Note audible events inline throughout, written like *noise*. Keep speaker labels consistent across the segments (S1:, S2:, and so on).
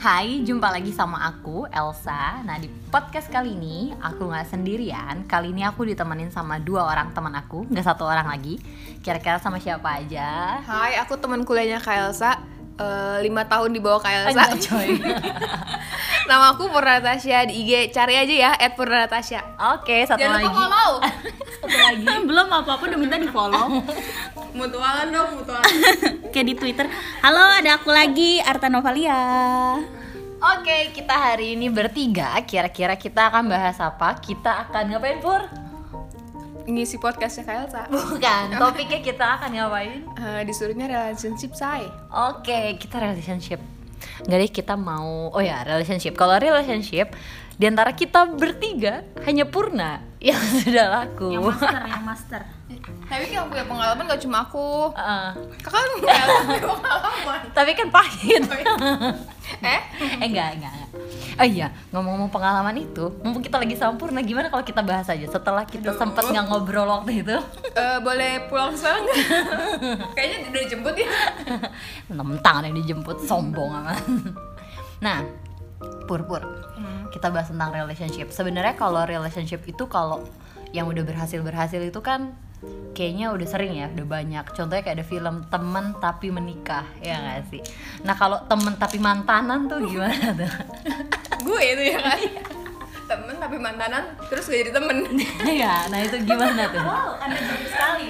S1: Hai, jumpa lagi sama aku Elsa. Nah di podcast kali ini aku nggak sendirian. Kali ini aku ditemenin sama dua orang teman aku, nggak satu orang lagi. Kira-kira sama siapa aja?
S2: Hai, aku teman kuliahnya Kak Elsa. Eh, lima tahun di bawah Kak Elsa.
S1: Anjay, coy.
S2: *laughs* Nama aku Purna Natasha di IG. Cari aja ya, at Purna Natasha.
S1: Oke, satu
S2: Jangan lupa
S1: lagi. *laughs*
S2: follow.
S1: Satu lagi.
S3: *laughs* belum apa-apa udah minta di follow
S2: mutualan dong, mutualan. *laughs*
S3: kayak di twitter halo ada aku lagi Arta Novalia
S1: Oke, kita hari ini bertiga. Kira-kira kita akan bahas apa? Kita akan ngapain Pur?
S2: Ngisi podcastnya Kak Elsa.
S1: Bukan.
S2: *laughs*
S1: Topiknya kita akan ngapain?
S2: Eh, disuruhnya relationship say.
S1: Oke, kita relationship. Nggak deh, kita mau... Oh ya, relationship. Kalau relationship, di antara kita bertiga hanya Purna yang *laughs* sudah laku.
S3: yang
S1: *laughs*
S3: master yang master
S2: Tapi yang punya pengalaman gak cuma aku.
S1: Heeh.
S2: Kakak kan
S1: *laughs*
S2: punya *laughs* pengalaman.
S1: Ah, tapi kan pahit. *laughs*
S2: Eh?
S1: eh, enggak, enggak, enggak. Oh iya, ngomong-ngomong pengalaman itu, mumpung kita lagi sampurna, gimana kalau kita bahas aja setelah kita sempat nggak ngobrol waktu itu?
S2: Eh, boleh pulang sekarang nggak? *laughs* Kayaknya udah jemput ya. *laughs*
S1: *laughs* Tentang yang dijemput, sombong amat. *laughs* Nah, pur-pur, kita bahas tentang relationship. Sebenarnya kalau relationship itu kalau yang udah berhasil berhasil itu kan kayaknya udah sering ya, udah banyak. Contohnya kayak ada film temen tapi menikah ya nggak sih. Nah kalau temen tapi mantanan tuh gimana tuh?
S2: Gue itu ya kan.
S1: Iya.
S2: temen tapi mantanan terus gak jadi
S1: *laughs*
S2: temen
S1: ya, nah itu gimana tuh?
S3: wow anda bagus sekali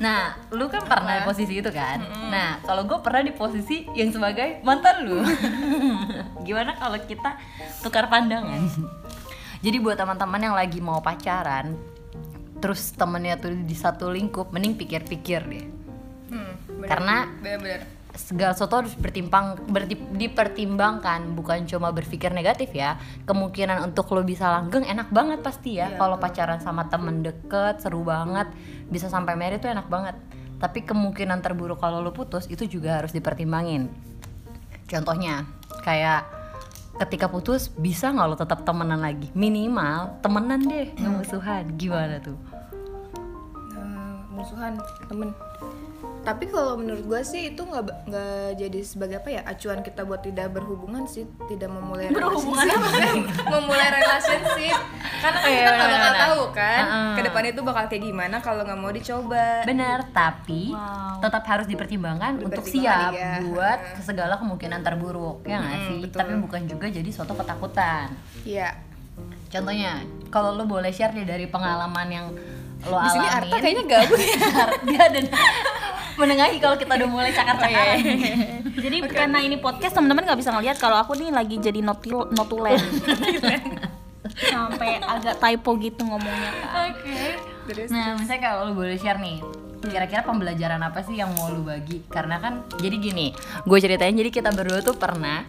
S1: Nah, lu kan pernah di posisi itu kan? Nah, kalau gue pernah di posisi yang sebagai mantan lu. *laughs* Gimana kalau kita tukar pandangan? Jadi buat teman-teman yang lagi mau pacaran, terus temennya tuh di satu lingkup, mending pikir-pikir deh.
S2: Hmm, bener.
S1: Karena-
S2: bener-bener
S1: Segala sesuatu harus bertimbang, berti- dipertimbangkan, bukan cuma berpikir negatif ya. Kemungkinan untuk lo bisa langgeng enak banget pasti ya.
S2: Iya,
S1: kalau pacaran sama temen deket, seru banget, bisa sampai married tuh enak banget. Tapi kemungkinan terburuk kalau lo putus itu juga harus dipertimbangin. Contohnya kayak ketika putus bisa nggak lo tetap temenan lagi? Minimal temenan deh, nggak musuhan. Gimana tuh?
S2: Eh, musuhan temen tapi kalau menurut gue sih itu nggak ba- nggak jadi sebagai apa ya acuan kita buat tidak berhubungan sih tidak memulai
S3: Berhubungan
S2: relationship *laughs* memulai relationship karena
S1: Oh,
S2: kan
S1: iya,
S2: kita nggak bakal
S1: benar-benar.
S2: tahu kan
S1: Heeh.
S2: ke depan itu bakal kayak gimana kalau nggak mau dicoba
S1: Benar, tapi
S3: Wow.
S1: tetap harus dipertimbangkan untuk siap
S2: Dipertimbangkan, iya.
S1: buat ke segala kemungkinan terburuk, ya nggak
S2: Mm-mm,
S1: sih?
S2: betul.
S1: Tapi bukan juga jadi suatu ketakutan.
S2: Iya.
S1: Contohnya, kalau lo boleh share deh dari pengalaman yang lo
S2: di sini
S1: alamin.
S2: Arta kayaknya
S1: *laughs*
S2: gabut ya
S1: dia dan menengahi kalau kita udah mulai cakar-cakaran.
S2: Oh, iya.
S3: jadi karena ini podcast teman-teman nggak bisa ngeliat kalau aku nih lagi jadi notil notulen sampai agak typo gitu ngomongnya kak
S2: terus
S1: Nah, misalnya kalau lu boleh share nih, kira-kira pembelajaran apa sih yang mau lu bagi? Karena kan jadi gini, gue ceritain jadi kita berdua tuh pernah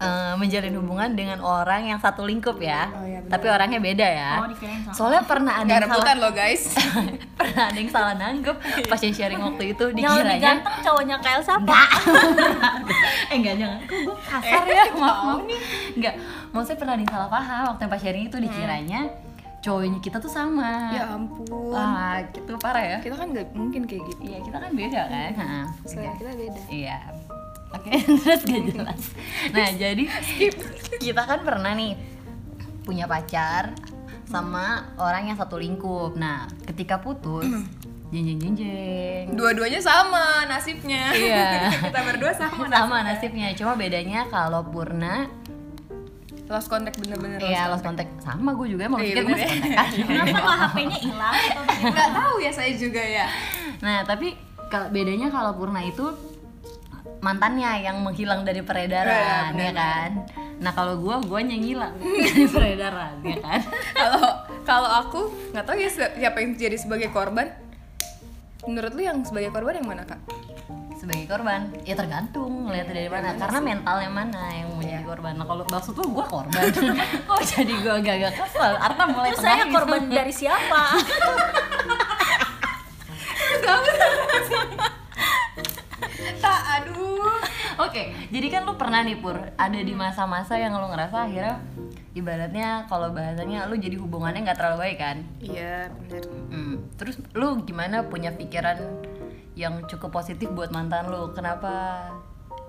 S1: eh, menjalin hubungan dengan orang yang satu lingkup ya.
S2: Oh, iya, benar.
S1: Tapi orangnya beda ya.
S3: Oh, dikirain sama.
S1: Soalnya pernah ada
S2: nggak
S1: yang salah Nah.
S2: rebutan loh guys
S1: *laughs* pernah ada yang salah
S2: *laughs*
S1: nanggep pas yang sharing waktu itu
S3: yang lebih
S1: dikiranya
S3: ganteng cowoknya Kak Elsa apa?
S1: *laughs* eh enggak jangan kok gue kasar ya
S2: Eh,
S1: maaf maaf nih enggak maksudnya pernah ada yang salah paham waktu yang pas sharing itu dikiranya cowoknya kita tuh sama
S2: Hmm. ya ampun
S1: wah gitu parah ya
S2: kita kan nggak mungkin kayak gitu
S1: Iya kita kan beda kan. Ha,
S2: selera kita beda
S1: Iya. Oke *laughs* terus gak jelas. Nah jadi kita kan pernah nih punya pacar sama orang yang satu lingkup. Nah ketika putus, *clears throat* jeng jeng jeng jeng.
S2: dua-duanya sama nasibnya
S1: *laughs* Iya.
S2: kita berdua sama
S1: Sama nasibnya, cuma bedanya kalau Purna
S2: lost contact bener-bener lost
S1: ya lost contact sama gue juga emang *laughs*
S2: Iya,
S1: pikir gue
S2: bener
S1: masih
S2: ya.
S1: kontakan.
S3: kenapa kok HP-nya hilang atau gimana?
S2: nggak tahu ya saya juga ya
S1: Nah, tapi kal- bedanya kalau Purna itu mantannya yang menghilang dari peredaran, ya
S2: Iya, benar.
S1: kan? Nah, kalau gua gua yang hilang *laughs* dari peredaran, ya kan?
S2: kalau kalau aku nggak tahu ya se- siapa yang jadi sebagai korban menurut lu yang sebagai korban yang mana kak
S1: Sebagai korban, ya tergantung lihat dari
S2: Iya,
S1: mana. Karena mentalnya mana yang mau jadi korban. Nah, kalau maksud lu gua korban. *laughs* Kok jadi gua agak-agak kesel? Arta mulai
S3: Terus saya
S1: tengahin.
S3: korban dari siapa?
S2: tak aduh
S1: Oke, *laughs* jadi kan lu pernah nih Pur ada di
S2: Hmm.
S1: masa-masa yang lu ngerasa akhirnya ibaratnya kalau bahasanya lu jadi hubungannya nggak terlalu baik kan?
S2: iya benar
S1: Hmm, Terus lu gimana punya pikiran yang cukup positif buat mantan lu? Kenapa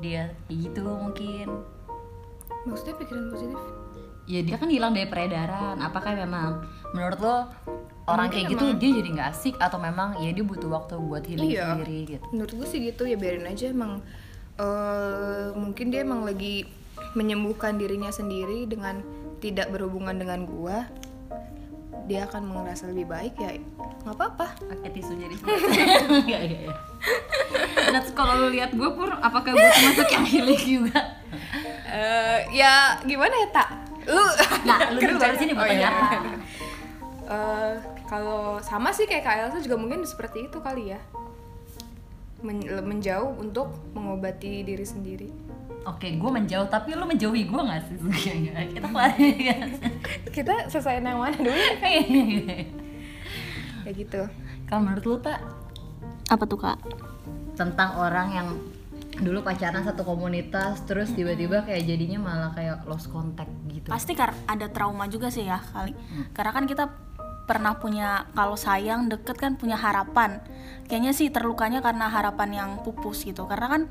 S1: dia kayak gitu mungkin?
S2: maksudnya pikiran positif
S1: ya dia kan hilang dari peredaran apakah memang menurut lo orang kayak gitu dia jadi nggak asik atau memang ya dia butuh waktu buat healing
S2: Iya.
S1: sendiri gitu
S2: menurut gue sih gitu ya biarin aja emang eh, mungkin dia emang lagi menyembuhkan dirinya sendiri dengan tidak berhubungan dengan gua dia akan merasa lebih baik ya nggak apa-apa
S1: pakai tisu jadi *laughs* Iya, iya, iya. Nah, terus kalau lu lihat gue pur, apakah gue *laughs* termasuk yang healing juga?
S2: Eh, ya gimana ya tak lu
S1: Nah,
S2: *laughs*
S1: lu dulu
S2: Kerja.
S1: dari sini
S2: Oh, iya.
S1: bertanya apa?
S2: Eh, kalau sama sih kayak Kak Elsa juga mungkin seperti itu kali ya Men- menjauh untuk mengobati diri sendiri
S1: Oke, gue menjauh, tapi lu menjauhi gue gak sih? Enggak, Kita *laughs* kelarin
S2: *laughs* kita selesai yang mana dulu ya gitu
S1: Kalau menurut lu, Pak,
S3: Apa tuh kak?
S1: tentang orang yang dulu pacaran satu komunitas terus tiba-tiba kayak jadinya malah kayak lost contact gitu.
S3: Pasti kar ada trauma juga sih ya kali. Karena kan kita pernah punya kalau sayang deket kan punya harapan. Kayaknya sih terlukanya karena harapan yang pupus gitu. Karena kan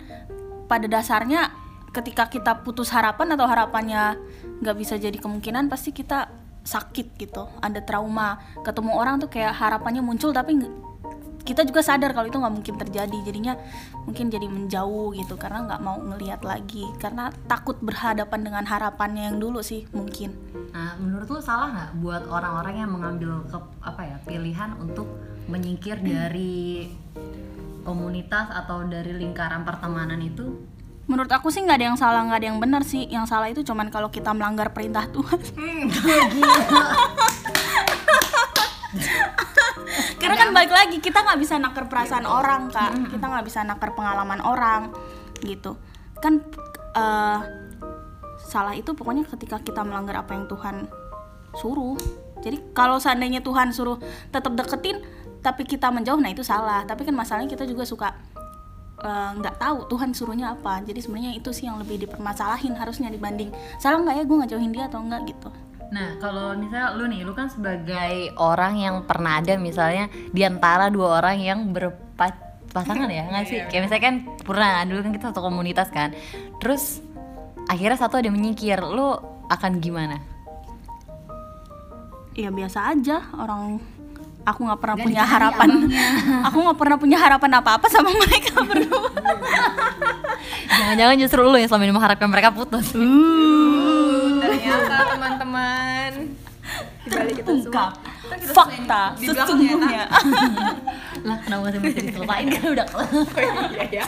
S3: pada dasarnya ketika kita putus harapan atau harapannya nggak bisa jadi kemungkinan pasti kita sakit gitu. Ada trauma. Ketemu orang tuh kayak harapannya muncul tapi nggak- kita juga sadar kalau itu nggak mungkin terjadi jadinya mungkin jadi menjauh gitu karena nggak mau ngelihat lagi karena takut berhadapan dengan harapannya yang dulu sih mungkin
S1: Nah, menurut lu salah nggak buat orang-orang yang mengambil ke, apa ya pilihan untuk menyingkir dari komunitas atau dari lingkaran pertemanan itu?
S3: menurut aku sih nggak ada yang salah nggak ada yang benar sih yang salah itu cuman kalau kita melanggar perintah Tuhan *laughs* karena kan balik lagi kita nggak bisa naker perasaan orang kak kita nggak bisa naker pengalaman orang gitu kan eh, salah itu pokoknya ketika kita melanggar apa yang Tuhan suruh jadi kalau seandainya Tuhan suruh tetap deketin tapi kita menjauh nah itu salah tapi kan masalahnya kita juga suka eh, nggak tahu Tuhan suruhnya apa jadi sebenarnya itu sih yang lebih dipermasalahin harusnya dibanding salah nggak ya gue ngejauhin dia atau enggak gitu
S1: Nah, kalau misalnya lu nih, lu kan sebagai orang yang pernah ada misalnya di antara dua orang yang berpasangan *laughs* ya, nggak sih? Kayak misalnya kan Purna, dulu kan kita satu komunitas kan. Terus akhirnya satu ada yang menyingkir, lu akan *laughs* gimana?
S3: ya biasa aja orang aku nggak pernah punya harapan *laughs* aku nggak pernah punya harapan apa apa sama mereka berdua
S1: Jangan-jangan justru lu yang selama ini mengharapkan mereka putus.
S2: ternyata teman-teman dibalik kita ya, semua
S3: Ungkap fakta sesungguhnya
S1: lah kenapa masih bisa diselesain *laughs* kan udah kelar
S2: iya ya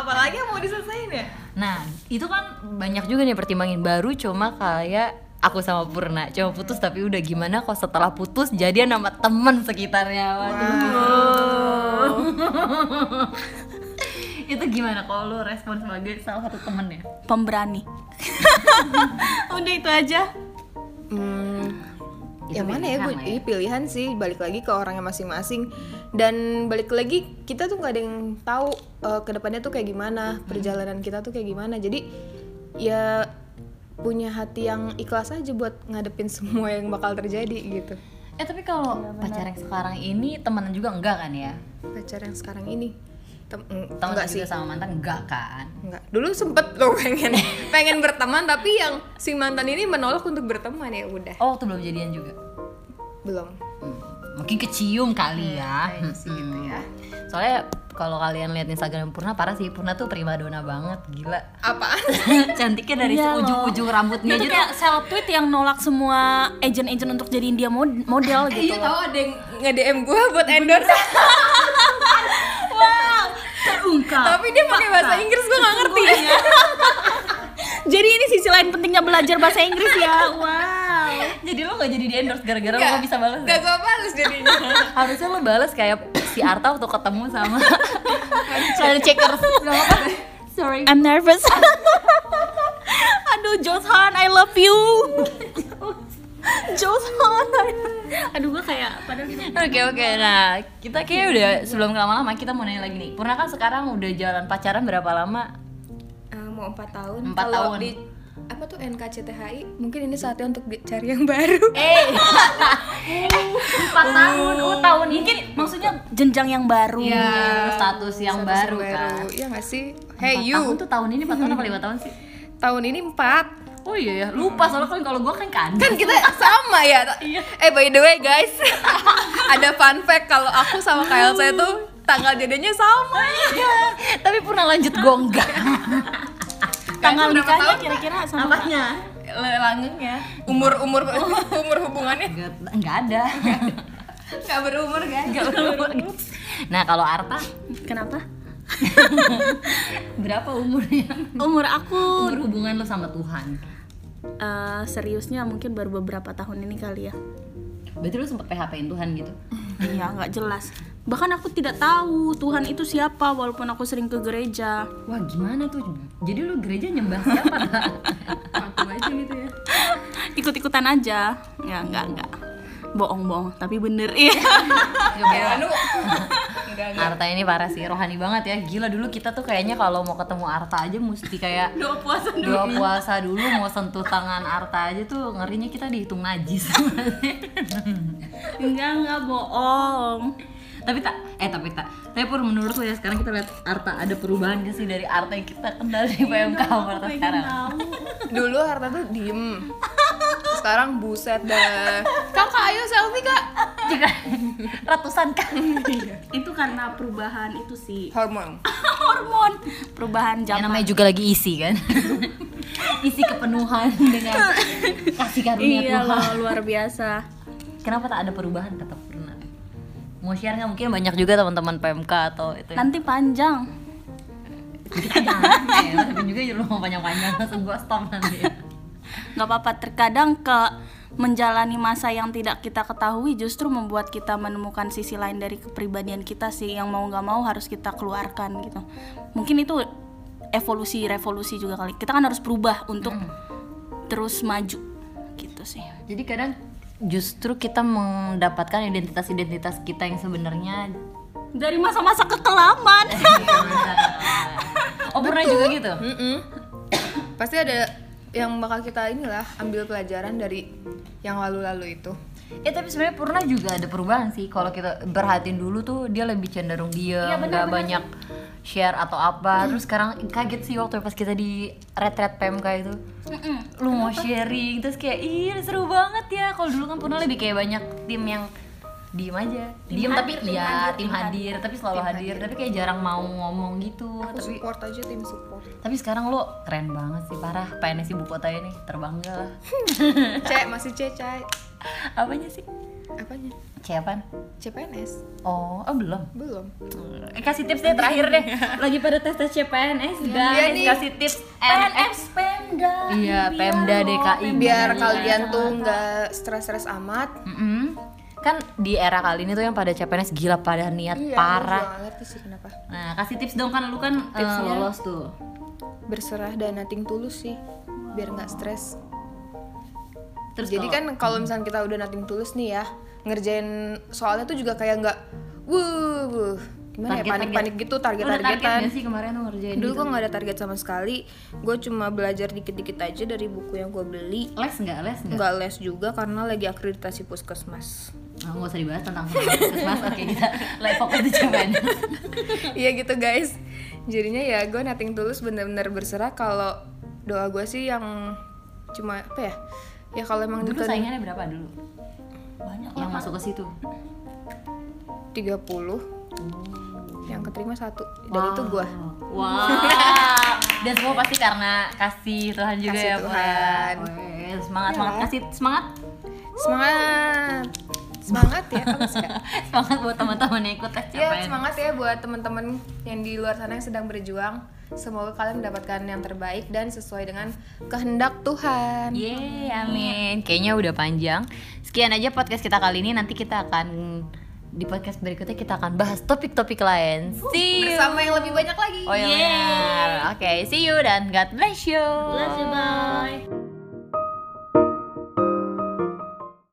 S2: apalagi yang mau diselesain ya
S1: nah itu kan banyak juga nih pertimbangan baru cuma kayak aku sama Purna cuma putus tapi udah gimana kok setelah putus jadian sama temen sekitarnya waduh *laughs* itu gimana kalau lu respon sebagai salah satu temen ya
S3: pemberani *laughs* udah itu aja
S2: hmm,
S1: Itu
S2: yang mana ya
S1: pilihan
S2: gue
S1: lah ya.
S2: ini pilihan sih balik lagi ke orangnya masing-masing dan balik lagi kita tuh nggak ada yang tahu eh, kedepannya tuh kayak gimana perjalanan kita tuh kayak gimana jadi ya punya hati yang ikhlas aja buat ngadepin *laughs* semua yang bakal terjadi gitu
S1: eh tapi kalau
S2: Iya,
S1: pacar yang sekarang ini temenan juga enggak kan ya
S2: pacar yang sekarang ini Tem- mm,
S1: temen
S2: enggak
S1: juga
S2: sih
S1: sama mantan enggak kan
S2: Enggak. Dulu sempet lo pengen *laughs* pengen berteman tapi yang si mantan ini menolak untuk berteman ya udah.
S1: oh waktu belum jadian juga
S2: Belum.
S1: Hmm, mungkin kecium kali ya. Hmm. Soalnya kalau kalian lihat Instagram Purna parah sih Purna tuh primadona banget gila.
S2: Apaan?
S1: *laughs* Cantiknya dari
S3: Iya loh.
S1: ujung-ujung rambutnya gitu.
S3: itu
S1: aja
S3: kayak self tweet yang nolak semua agent-agent untuk jadiin dia mod- *laughs* model
S2: Iya
S3: gitu
S2: tahu ada yang nge-DM gue buat endorse
S1: terungkap.
S3: Ah,
S2: tapi dia pakai bahasa Inggris gue gak ngerti.
S3: jadi ini sisi lain pentingnya belajar bahasa Inggris *laughs* ya wow
S1: Jadi lo gak jadi di endorse gara-gara lo
S2: Nggak.
S1: gak bisa balas.
S2: Gak gue balas jadinya.
S1: Harusnya lo balas kayak si Arta waktu ketemu sama *laughs* Channel Checkers. Gak apa-apa. Sorry.
S3: I'm nervous. *laughs* Aduh, Joseon, I love *laughs* you. Joseon. Aduh, gue kayak gitu. padahal
S1: Oke oke, nah kita kayaknya udah sebelum lama-lama kita mau nanya lagi nih Purna kan sekarang udah jalan pacaran berapa lama?
S2: Eh, mau 4 tahun.
S1: Empat
S2: Kalau
S1: tahun.
S2: Di, apa tuh NKCTHI? Mungkin ini saatnya untuk dicari yang baru.
S1: Eh, *laughs* empat tahun, oh tahun ini.
S3: maksudnya jenjang yang baru.
S1: Iya, status yang
S2: Status
S1: baru, Eh,
S2: yang
S1: kan.
S2: Iya gak sih?
S1: Empat
S2: Hey you.
S1: Tahun tuh tahun ini empat tahun apa lima tahun sih?
S2: tahun ini empat
S1: Oh iya ya, lupa soalnya kan kalau gue kan kandas.
S2: kan kita sama ya eh by the way guys *laughs* ada fun fact kalau aku sama Kyle saya tuh tanggal jadinya sama
S1: Iya. Tapi pernah lanjut gue enggak.
S3: Tanggal
S2: berapa
S3: nikahnya
S2: tahun?
S3: kira-kira sama Kak?
S1: Apanya?
S2: langgengnya umur umur *laughs* umur hubungannya
S1: Enggak enggak *laughs* ada.
S2: nggak berumur guys
S1: Enggak berumur. Nah, kalau Arta
S3: Kenapa?
S1: berapa umurnya?
S3: Umur aku
S1: Umur hubungan lo sama Tuhan.
S3: eh, seriusnya mungkin baru beberapa tahun ini kali ya.
S1: Berarti lo sempet PHP-in Tuhan gitu.
S3: Iya, nggak jelas. Bahkan aku tidak tahu Tuhan itu siapa walaupun aku sering ke gereja.
S1: Wah, gimana tuh? Jadi lo gereja nyembah siapa? Aku aja gitu ya.
S3: Ikut-ikutan aja. Ya, nggak, nggak. Bohong-bohong, tapi bener. *laughs* Iya.
S2: anu enggak enggak
S1: Arta ini parah sih, rohani banget ya. Gila dulu kita tuh kayaknya kalau mau ketemu Arta aja mesti kayak
S3: Doa puasa
S1: doa puasa dulu mau sentuh tangan Arta aja tuh ngerinya kita dihitung najis. *laughs*
S3: Enggak, enggak bohong.
S1: tapi tak eh tapi tak tapi pur menurut lo ya sekarang kita lihat Arta ada perubahan gak sih dari Arta yang kita kenal di PMK sama Arta sekarang *laughs*
S2: dulu harta tuh diem sekarang buset dah kakak ayo selfie kak
S1: Jika- ratusan kan? kali
S3: Itu karena perubahan itu sih.
S2: hormon
S3: *laughs* Hormon. Perubahan
S1: yang
S3: zaman.
S1: namanya juga lagi isi kan *laughs* isi kepenuhan dengan kasih karunia
S3: Iya
S1: Tuhan
S3: loh, luar biasa.
S1: kenapa tak ada perubahan kata pernah mau share nggak mungkin banyak juga teman-teman PMK atau itu *laughs*
S3: Nanti panjang.
S1: jangan ya tapi juga jangan mau panjang-panjang langsung gua stop nanti
S3: nggak apa-apa terkadang ke menjalani masa yang tidak kita ketahui justru membuat kita menemukan sisi lain dari kepribadian kita sih yang mau nggak mau harus kita keluarkan gitu mungkin itu evolusi revolusi juga kali kita kan harus berubah untuk
S1: Hmm.
S3: terus maju gitu sih
S1: jadi kadang justru kita mendapatkan identitas-identitas kita yang sebenarnya
S3: dari masa-masa kekelaman
S1: oh pernah juga gitu
S2: Mm-mm. pasti ada yang bakal kita inilah ambil pelajaran dari yang lalu-lalu itu
S1: Eh tapi sebenarnya Purna juga ada perubahan sih. Kalau kita berhatiin dulu tuh dia lebih cenderung diam, nggak banyak share atau apa. Terus sekarang kaget sih waktu pas kita di retret PMK itu. Lu mau sharing terus kayak ih seru banget ya. Kalau dulu kan Purna lebih kayak banyak tim yang diem aja. Diem tapi ya tim hadir, tapi selalu hadir, tapi kayak jarang mau ngomong gitu. Tapi
S2: aku support aja tim *laughs* support
S1: tapi sekarang lo keren banget sih parah PNS ibu kota ini terbangga lah *laughs*
S2: cek masih cek cek
S1: apanya sih
S2: apanya
S1: siapaan
S2: CPNS
S1: oh, oh belum
S2: belum
S1: Eh, kasih tips deh terakhir deh. Lagi pada tes tes CPNS
S2: Iya
S1: guys,
S2: nih.
S1: kasih tips PNS.
S3: Pemda
S1: Iya, Pemda DKI.
S2: biar kalian tuh nggak stres-stres amat
S1: Mm-mm. Kan di era kali ini tuh yang pada CPNS gila pada niat
S2: Iya,
S1: parah.
S2: gua juga nggak ngerti sih kenapa
S1: Nah, kasih tips dong kan lu kan eh,
S2: Tipsnya?
S1: lolos tuh.
S2: berserah dan nating tulus sih biar nggak stres
S1: Terus
S2: jadi
S1: kalau-
S2: kan kalau misalnya kita udah nating tulus nih ya ngerjain soalnya tuh juga kayak nggak wuh, wuh gimana ya
S1: Target-target.
S2: panik-panik gitu
S1: Lu udah target
S2: target-targetan
S1: gak sih kemarin tuh ngerjain
S2: dulu
S1: gitu?
S2: gue nggak ada target sama sekali gue cuma belajar dikit-dikit aja dari buku yang gue beli
S1: les nggak les nggak?
S2: nggak les juga karena lagi akreditasi puskesmas *laughs*
S1: Nggak usah dibahas tentang *laughs* puskesmas. Oke kita lagi fokus di *laughs* CPNS.
S2: iya gitu guys jadinya ya gue nating tulus bener-bener berserah kalau doa gue sih yang cuma apa ya ya kalau emang
S1: Dulu
S2: diten-
S1: saingannya berapa dulu?
S3: banyak
S1: Yang masuk ke *laughs* situ.
S2: 30 yang keterima satu dan itu gue
S1: Hmm. Wow. Dan semua pasti karena kasih Iya. Tuhan juga
S2: Kasih
S1: ya
S2: Tuhan.
S1: Pur. Weh, Semangat, semangat, kasih semangat,
S2: semangat semangat ya apa
S1: *laughs*
S2: sih, Kak?
S1: semangat buat teman-teman yang ikut tes
S2: ya
S1: CPNS.
S2: semangat ya buat teman-teman yang di luar sana yang sedang berjuang semoga kalian mendapatkan yang terbaik dan sesuai dengan kehendak Tuhan
S1: Yeay, amin. Kayaknya udah panjang. Sekian aja podcast kita kali ini. Nanti kita akan di podcast berikutnya kita akan bahas topik-topik lain. See you.
S2: bersama yang lebih banyak lagi
S1: Oh iya benar. Oke, see you dan God bless you.
S3: bye